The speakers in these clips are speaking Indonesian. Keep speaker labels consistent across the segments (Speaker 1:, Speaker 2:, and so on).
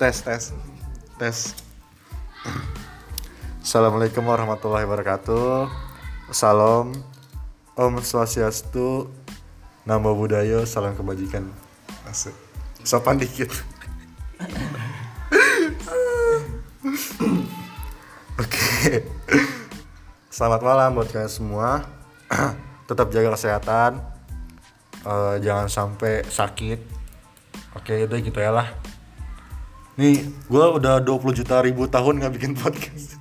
Speaker 1: tes tes tes Assalamualaikum warahmatullahi wabarakatuh Salam Om Swastiastu Namo Buddhaya Salam Kebajikan Asik Sopan dikit Oke Selamat malam buat kalian semua Tetap jaga kesehatan Eh, Jangan sampai sakit Oke udah gitu ya lah Nih, gue udah 20 juta ribu tahun nggak bikin podcast.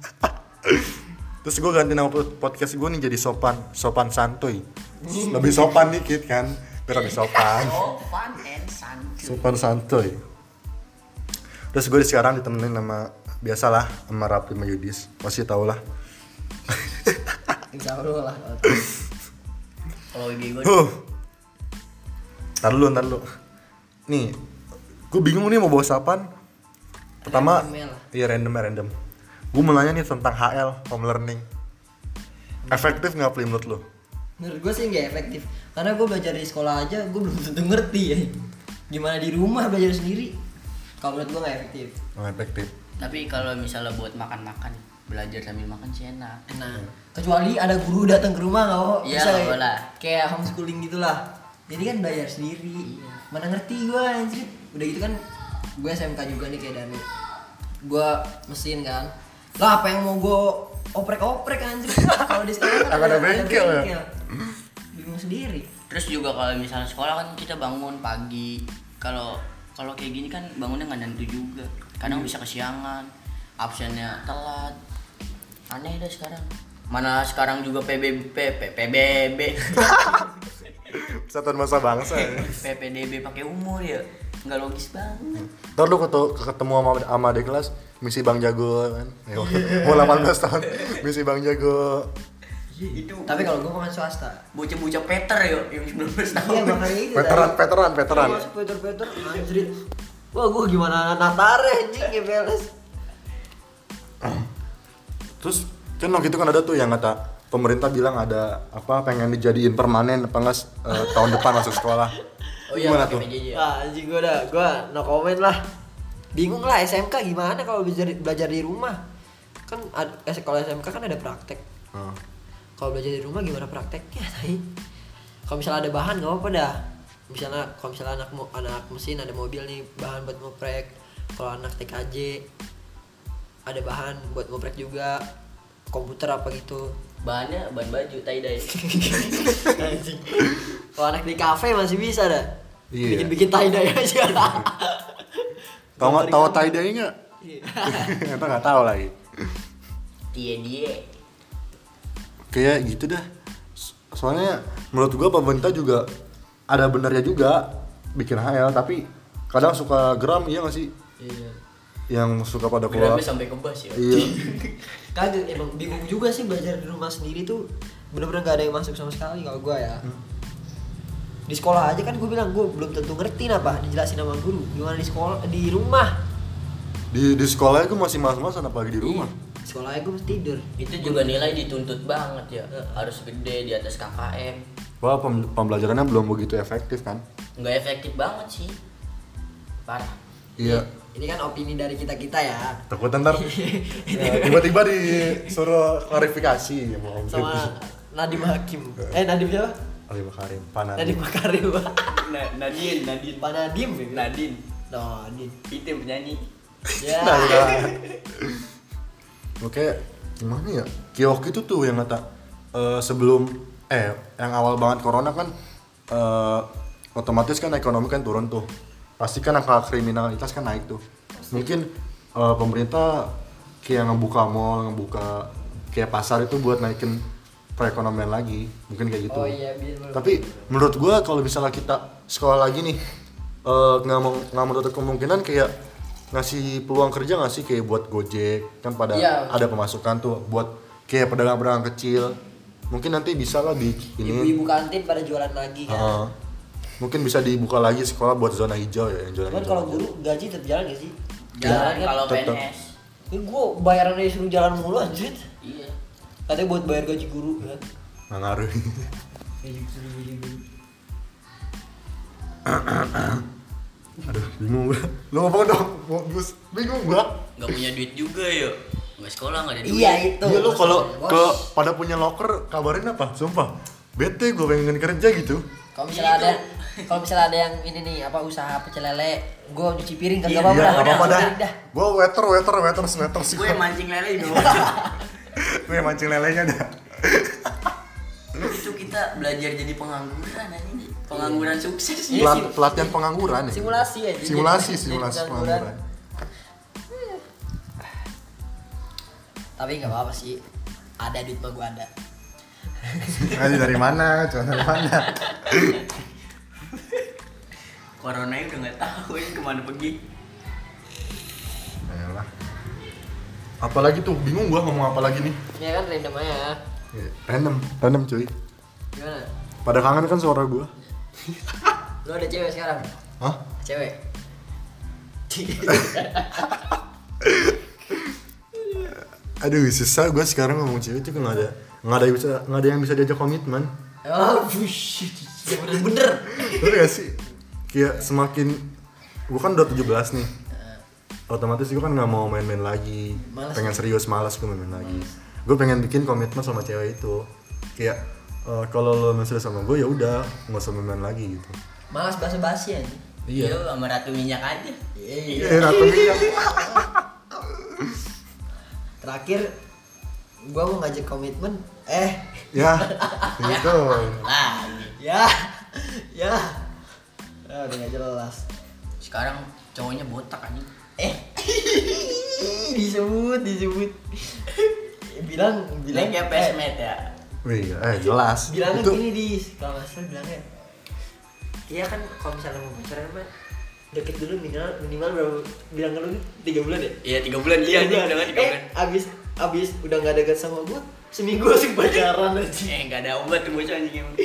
Speaker 1: Terus gue ganti nama pod- podcast gue nih jadi sopan, sopan santuy. Lebih sopan dikit kan, biar lebih sopan.
Speaker 2: Oh, fun and santuy.
Speaker 1: Sopan santuy. Terus gue sekarang ditemenin sama biasalah sama Rapi sama Yudis, pasti tau lah.
Speaker 2: Insya Allah lah. Kalau IG gue
Speaker 1: Huh. Ntar dulu, ntar dulu. Nih, gue bingung nih mau bahas apaan. Pertama,
Speaker 2: Randomnya lah.
Speaker 1: iya random random. Gue mau nanya nih tentang HL, home learning. Efektif nggak Pli, menurut lo?
Speaker 2: menurut gue sih nggak efektif karena gue belajar di sekolah aja gue belum tentu ngerti ya gimana di rumah belajar sendiri kalau menurut gue nggak efektif
Speaker 1: Nggak efektif.
Speaker 3: Tapi kalau misalnya buat makan-makan, belajar sambil makan sih enak.
Speaker 2: nah kecuali ada guru datang ke rumah nggak mau
Speaker 3: Iya,
Speaker 2: bisa
Speaker 3: nggak
Speaker 2: kayak-
Speaker 3: boleh.
Speaker 2: kayak homeschooling gitulah jadi kan belajar sendiri
Speaker 3: Iya.
Speaker 2: mana ngerti gue anjir udah gitu kan gue SMK juga nih kayak Dani gue mesin kan lah apa yang mau gue oprek-oprek anjir kalau di sekolah kan
Speaker 1: Akan ada bengkel ya?
Speaker 2: bingung sendiri
Speaker 3: Terus juga kalau misalnya sekolah kan kita bangun pagi. Kalau kalau kayak gini kan bangunnya nggak nentu juga. Kadang
Speaker 2: Iya.
Speaker 3: bisa kesiangan, absennya telat. Aneh dah sekarang. Mana sekarang juga PBB, P- PBB,
Speaker 1: Kesatuan masa bangsa. ya.
Speaker 3: PPDB pakai umur ya. Nggak logis banget.
Speaker 1: Ntar lu ketu- ketemu sama, sama adik kelas, misi Bang Jago kan. Ya, Mau 18 tahun, misi Bang Jago.
Speaker 3: Iya, Itu
Speaker 2: tapi kalau gue kan swasta
Speaker 3: bocah-bocah Peter ya yang 19
Speaker 2: iya
Speaker 3: tahun.
Speaker 2: makanya itu
Speaker 1: Veteran, veteran, veteran.
Speaker 2: Masuk Peter-Peter anjir wah gue gimana natare anjing ya beles
Speaker 1: Terus kan waktu itu kan ada tuh yang kata pemerintah bilang ada apa pengen dijadiin permanen apa enggak eh, tahun depan masuk sekolah.
Speaker 3: Oh iya,
Speaker 1: Gimana
Speaker 3: pakai
Speaker 1: tuh?
Speaker 3: PJJ.
Speaker 2: Wah, Ah, anjing gue dah, gue no comment lah. Bingung lah SMK gimana kalau belajar belajar di rumah? Kan ad- eh, kalau SMK kan ada praktek.
Speaker 1: Hmm.
Speaker 2: Kalau belajar di rumah gimana prakteknya? Tai? Kalau misalnya ada bahan nggak apa-apa dah. Misalnya kalau misalnya anak mo- anak mesin ada mobil nih bahan buat ngoprek. Kalau anak TKJ ada bahan buat ngoprek juga komputer apa gitu
Speaker 3: Bahannya bahan baju tie dye.
Speaker 2: Anjing. kalau anak di kafe masih bisa dah
Speaker 1: Iya.
Speaker 2: bikin bikin tie dye aja
Speaker 1: Tahu nggak tahu tie dye enggak?
Speaker 2: Iya.
Speaker 1: Kita nggak tahu lagi.
Speaker 3: Dia dia.
Speaker 1: Kayak gitu dah. So- Soalnya menurut gua pemerintah juga ada benernya juga bikin HL tapi kadang suka geram iya nggak sih
Speaker 3: Iya.
Speaker 1: yang suka pada keluar.
Speaker 3: Geramnya sampai ke bas ya.
Speaker 1: Iya.
Speaker 2: kagak emang bingung juga sih belajar di rumah sendiri tuh bener-bener gak ada yang masuk sama sekali kalau gua ya di sekolah aja kan gue bilang gue belum tentu ngerti apa dijelasin sama guru gimana di sekolah di rumah
Speaker 1: Di di sekolah gua masih mas-masan apalagi di
Speaker 3: Iya.
Speaker 1: rumah.
Speaker 2: sekolahnya gue mesti tidur
Speaker 3: Itu juga nilai dituntut banget ya. Harus gede di atas KKM.
Speaker 1: Wah, pem- pembelajarannya belum begitu efektif kan?
Speaker 3: Nggak efektif banget sih. Parah.
Speaker 1: Iya.
Speaker 2: ini kan opini dari kita kita ya
Speaker 1: Takut ntar ya, tiba-tiba disuruh klarifikasi ya mau Om
Speaker 2: sama
Speaker 1: Fitri.
Speaker 2: Nadim Hakim eh Nadim siapa
Speaker 1: Ali Makarim, panas.
Speaker 2: Nadim Makarim
Speaker 3: Nadine, Nadine,
Speaker 2: Pak Nadim ya?
Speaker 3: Nadine.
Speaker 2: Nadim
Speaker 3: Itu yang penyanyi.
Speaker 2: ya
Speaker 1: Nah, iya. Oke, gimana ya? Kiok itu tuh yang kata eh, sebelum eh yang awal banget corona kan eh, otomatis kan ekonomi kan turun tuh. Pasti kan angka kriminalitas kan naik tuh. Mungkin eh, pemerintah kayak ngebuka mall, ngebuka kayak pasar itu buat naikin perekonomian lagi. Mungkin kayak gitu.
Speaker 2: oh iya biar
Speaker 1: tapi menurut gua kalau misalnya kita sekolah lagi nih eh, nggak mau nggak menutup kemungkinan kayak ngasih peluang kerja nggak sih kayak buat gojek kan pada
Speaker 2: Iya.
Speaker 1: ada pemasukan tuh buat kayak pedagang-pedagang kecil mungkin nanti bisa lah di ini
Speaker 2: Ya, ibu-ibu kantin pada jualan lagi kan
Speaker 1: Heeh. mungkin bisa dibuka lagi sekolah buat zona hijau ya yang zona
Speaker 2: Cuman
Speaker 1: hijau
Speaker 2: kalau
Speaker 1: aja.
Speaker 2: guru gaji tetap jalan gak sih? Iya,
Speaker 3: Jalan kalau
Speaker 1: tetep.
Speaker 3: PNS.
Speaker 2: Ini gue bayarannya disuruh jalan mulu anjir
Speaker 3: Iya.
Speaker 2: Katanya buat bayar gaji guru ya
Speaker 1: nggak ngaruh
Speaker 2: Gaji guru, gaji guru
Speaker 1: aduh bingung gua lu ngomong dong bagus bingung gua
Speaker 3: nggak punya duit juga ya nggak sekolah nggak ada duit
Speaker 2: Iya itu.
Speaker 1: Iya lu kalau
Speaker 2: Bos.
Speaker 1: ke pada punya locker kabarin apa? Sumpah. Bete gue pengen kerja gitu.
Speaker 2: Kalau misalnya ada
Speaker 3: Itu.
Speaker 2: kalau misalnya ada yang ini nih apa usaha pecel lele, gue cuci piring kagak
Speaker 3: Iya,
Speaker 1: Iya,
Speaker 2: apa-apa. dah,
Speaker 1: enggak
Speaker 2: udah,
Speaker 1: apa-apa dah.
Speaker 2: udah, dah.
Speaker 1: Gua waiter, waiter, waiter, waiter sih.
Speaker 3: gue yang mancing lele itu
Speaker 1: Gue mancing lelenya dah.
Speaker 3: itu kita belajar jadi pengangguran anjing pengangguran sukses ya
Speaker 1: Pelat, pelatihan pengangguran ya.
Speaker 2: Iya Simulasi ya. jadi-
Speaker 1: Simulasi,
Speaker 2: jadi- jadi
Speaker 1: simulasi
Speaker 2: bukan
Speaker 1: pengangguran.
Speaker 2: bulan. Tapi nggak apa-apa sih. Ada duit mah gue ada.
Speaker 1: Ngaji dari mana? Cuman dari mana?
Speaker 3: corona udah nggak tahu ya kemana pergi
Speaker 1: Ayolah. Apalagi tuh bingung gua ngomong apa lagi nih.
Speaker 3: Iya
Speaker 2: Ya kan random aja.
Speaker 1: Ya, Random, random cuy.
Speaker 2: Gimana?
Speaker 1: Pada kangen kan suara gua.
Speaker 2: Lu ada cewek sekarang?
Speaker 1: Hah?
Speaker 2: Cewek.
Speaker 1: Aduh, susah gua sekarang ngomong cewek tuh nggak ada nggak ada yang bisa nggak ada yang bisa diajak komitmen.
Speaker 2: Oh, bullshit. Bener-bener.
Speaker 1: Bener gak sih? Kayak semakin Gue kan udah 17 nih Otomatis gue kan gak mau main-main lagi
Speaker 2: Males.
Speaker 1: Pengen serius, males gue main-main lagi Gue pengen bikin komitmen sama cewek itu Kayak eh, kalau lo masih sama gue ya udah nggak usah main lagi gitu
Speaker 2: Malas basa-basi aja.
Speaker 1: Iya.
Speaker 3: Yo, sama ratu minyak aja
Speaker 2: Iya.
Speaker 1: Iya, rata minyak.
Speaker 2: Terakhir gua mau ngajak komitmen eh
Speaker 1: ya gitu
Speaker 3: lagi
Speaker 2: ya ya Ah, udah gak jelas
Speaker 3: sekarang cowoknya botak anjing
Speaker 2: eh Ih, disebut disebut bilang bilang
Speaker 3: bilang ya pesmet ya
Speaker 1: Wih, eh jelas
Speaker 2: bilangnya
Speaker 1: itu
Speaker 2: gini di kalau nggak salah bilangnya iya kan kalau misalnya mau pacaran mah deket dulu minimal minimal berapa bilang ke lu nih, tiga bulan ya
Speaker 3: iya tiga bulan dia dia udah kan tiga
Speaker 2: eh
Speaker 3: bulan
Speaker 2: abis abis udah nggak deket sama gua seminggu langsung pacaran aja
Speaker 3: eh nggak ada obat tuh bocah anjing emang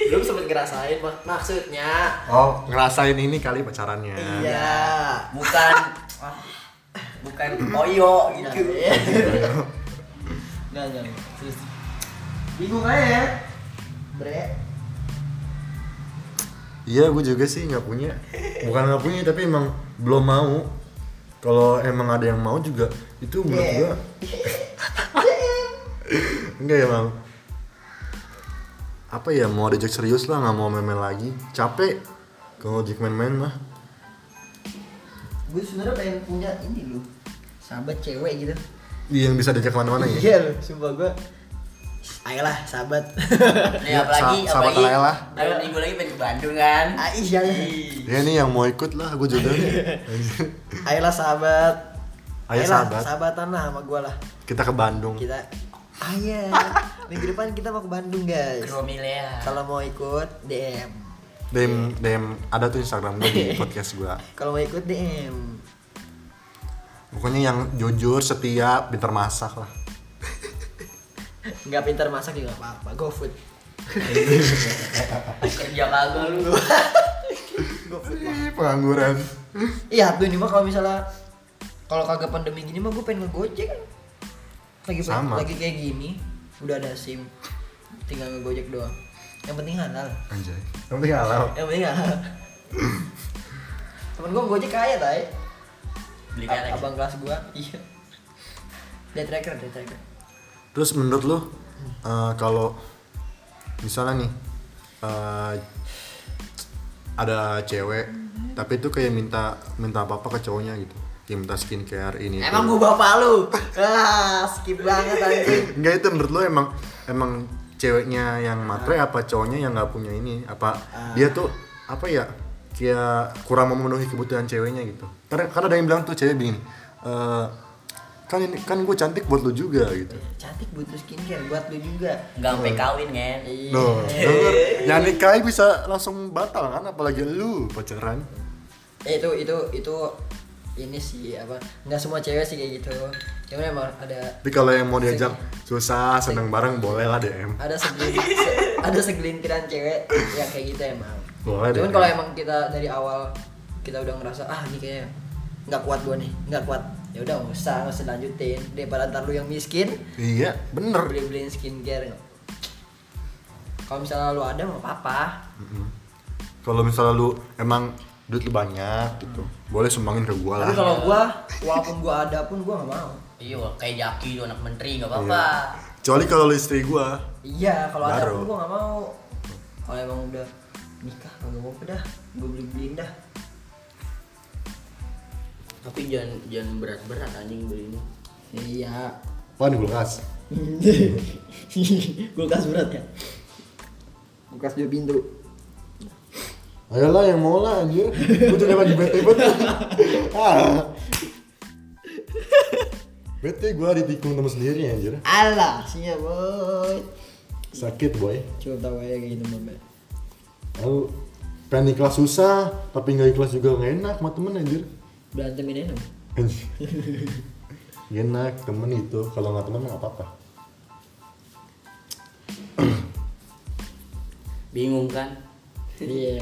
Speaker 2: belum sempet ngerasain mak- maksudnya
Speaker 1: Oh, ngerasain ini kali pacarannya
Speaker 2: iya
Speaker 3: bukan ah, bukan oyo gitu
Speaker 2: nggak nggak terus bingung aja bre
Speaker 1: Iya, gue juga sih nggak punya. Bukan nggak punya, tapi emang belum mau. Kalau emang ada yang mau juga, itu menurut
Speaker 2: Yeah.
Speaker 1: gue. Enggak emang. Apa ya mau diajak serius lah, nggak mau main-main lagi. Capek. Kalau diajak main-main mah.
Speaker 2: gue sebenarnya pengen punya ini loh sahabat cewek gitu
Speaker 1: Iya, Yang bisa diajak kemana-mana ya.
Speaker 2: iya loh sumpah gue ayolah sahabat
Speaker 3: nih apalagi
Speaker 1: sa- sahabat
Speaker 3: apalagi
Speaker 1: Laila lah.
Speaker 3: Ayo, minggu lagi pengen ke Bandung kan
Speaker 2: Ah, iya
Speaker 3: Ih,
Speaker 1: Ya nih yang mau ikut lah, gue juga. nih.
Speaker 2: ayolah sahabat
Speaker 1: Ayo,
Speaker 2: Ayolah,
Speaker 1: sahabat. Hmm.
Speaker 2: sahabatan lah sama gue lah
Speaker 1: Kita ke Bandung.
Speaker 2: kita ayo minggu depan kita mau ke Bandung guys
Speaker 3: ke Romilea
Speaker 2: kalau mau ikut DM
Speaker 1: DM, DM ada tuh Instagram gue di podcast gue.
Speaker 2: kalau mau ikut DM
Speaker 1: Pokoknya yang jujur, setia, pintar masak lah.
Speaker 2: nggak pintar masak juga nggak apa-apa go food
Speaker 3: kerja kagak lu
Speaker 1: Ih, Pengangguran.
Speaker 2: iya tuh ini mah kalau misalnya kalau kagak pandemi gini mah gue pengen ngegojek kan lagi
Speaker 1: Sama.
Speaker 2: lagi kayak gini udah ada sim tinggal ngegojek doang yang penting halal
Speaker 1: Anjay. Yang penting halal.
Speaker 2: yang penting halal temen gue gojek kaya tay
Speaker 3: beli
Speaker 2: Ab-
Speaker 3: karet
Speaker 2: abang kelas gue iya dia tracker dia tracker
Speaker 1: Terus menurut lu eh, kalau misalnya nih eh, ada cewek tapi itu kayak minta minta apa apa ke cowoknya gitu kayak minta skincare ini
Speaker 2: emang
Speaker 1: itu.
Speaker 2: gue bapak lu ah skip banget anjing
Speaker 1: enggak itu menurut lu emang emang ceweknya yang matre apa cowoknya yang nggak punya ini apa
Speaker 2: Ah.
Speaker 1: dia tuh apa ya kayak kurang memenuhi kebutuhan ceweknya gitu karena karena ada yang bilang tuh cewek begini eh, kan ini kan gue cantik buat lu juga gitu
Speaker 2: cantik butuh skincare buat lu juga
Speaker 3: nggak sampai kawin kan
Speaker 2: Iya.
Speaker 1: Loh, denger. yang nikahin bisa langsung batal kan apalagi lu pacaran.
Speaker 2: Eh, itu itu itu ini sih apa nggak semua cewek sih kayak gitu cuman emang ada
Speaker 1: Tapi kalau yang mau diajak susah, seneng bareng boleh lah DM.
Speaker 2: ada segelintir se- ada segelintiran cewek yang kayak gitu emang
Speaker 1: Boleh
Speaker 2: cuman
Speaker 1: deh.
Speaker 2: kalau emang kita dari awal kita udah ngerasa ah ini kayaknya nggak kuat gua nih nggak kuat ya udah nggak usah nggak usah lanjutin daripada ntar lu yang miskin
Speaker 1: Iya, bener.
Speaker 2: beli beliin skincare kalau misalnya lu ada nggak apa-apa
Speaker 1: Mm-mm. Kalau misalnya lu emang duit lu banyak gitu boleh sumbangin ke gua
Speaker 2: tapi
Speaker 1: lah
Speaker 2: kalau gua walaupun gua ada pun gua nggak mau
Speaker 3: iya wah, kayak jaki tuh anak menteri nggak apa-apa
Speaker 1: kecuali kalau lu istri gua
Speaker 2: iya kalau ada
Speaker 1: Baru.
Speaker 2: pun gua nggak mau kalau emang udah nikah kagak mau dah gua beli beliin dah
Speaker 3: tapi jangan jangan berat-berat anjing beli ini
Speaker 2: iya
Speaker 1: apa nih kulkas
Speaker 2: kulkas berat ya kulkas dua pintu
Speaker 1: ayolah yang mau lah anjir gua tuh lagi bete banget ah bete gua ditikung temen sendiri anjir
Speaker 2: Allah sih ya boy
Speaker 1: sakit boy
Speaker 2: coba tahu aja kayak gitu mbak
Speaker 1: lalu pengen ikhlas susah tapi nggak ikhlas juga nggak enak sama temen anjir
Speaker 2: berantemin enak
Speaker 1: Anjir. Gak enak temen itu kalau nggak temen mah nggak apa-apa
Speaker 3: bingung kan
Speaker 2: iya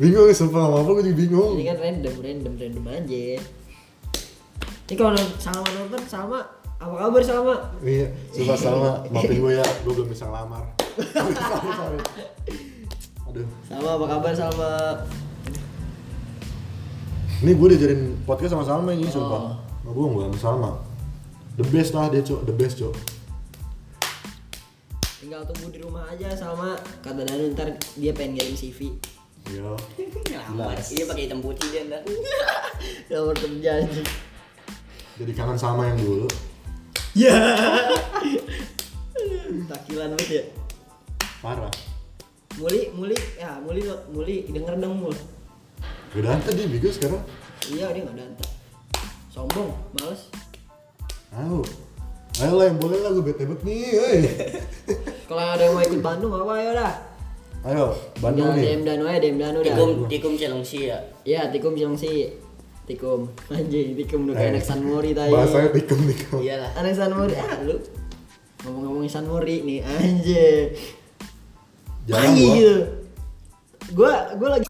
Speaker 1: bingung sumpah sama apa gue juga bingung
Speaker 2: ini kan random random random aja ini kalau sama nonton sama apa kabar sama
Speaker 1: Iya, sumpah sama, maafin gue ya, gue belum bisa ngelamar Sorry, sorry. Aduh,
Speaker 2: sama apa kabar sama
Speaker 1: ini gue diajarin podcast sama Salma ini,
Speaker 2: Oh.
Speaker 1: sumpah Nggak bohong gue sama Salma The best lah dia, Cok, the best, Cok
Speaker 2: tinggal tunggu di rumah aja sama kata Danu ntar dia pengen ngirim CV
Speaker 1: Iya
Speaker 3: ngelamar
Speaker 1: Jelas.
Speaker 3: iya pakai hitam putih dia ntar
Speaker 2: nomor kerja aja
Speaker 1: Jadi kangen sama yang dulu
Speaker 2: ya takilan banget ya
Speaker 1: Parah
Speaker 2: muli muli ya muli muli denger dong mul
Speaker 1: Udah tadi Bigo sekarang
Speaker 2: iya dia nggak danta sombong males
Speaker 1: Ayo Ayo lah yang boleh lah, gue bete banget nih, woi
Speaker 2: kalau ada yang mau ikut Bandung apa ayo dah
Speaker 1: Ayo, Bandung
Speaker 2: Tinggal DM
Speaker 1: nih
Speaker 2: Danu aja DM Danu dah
Speaker 3: tikum tikum celengsi ya
Speaker 2: Ya, tikum siang sih. Tikum. Anjing, tikum udah kayak anak San Mori
Speaker 1: Eh,
Speaker 2: tadi. Iya.
Speaker 1: Bahasanya tikung-tikung
Speaker 3: iyalah
Speaker 2: Anak San Mori. Ah, lu. Ngomong-ngomongin San Mori nih, anjing. Iya.
Speaker 1: Jarang gua.
Speaker 2: Gua gua lagi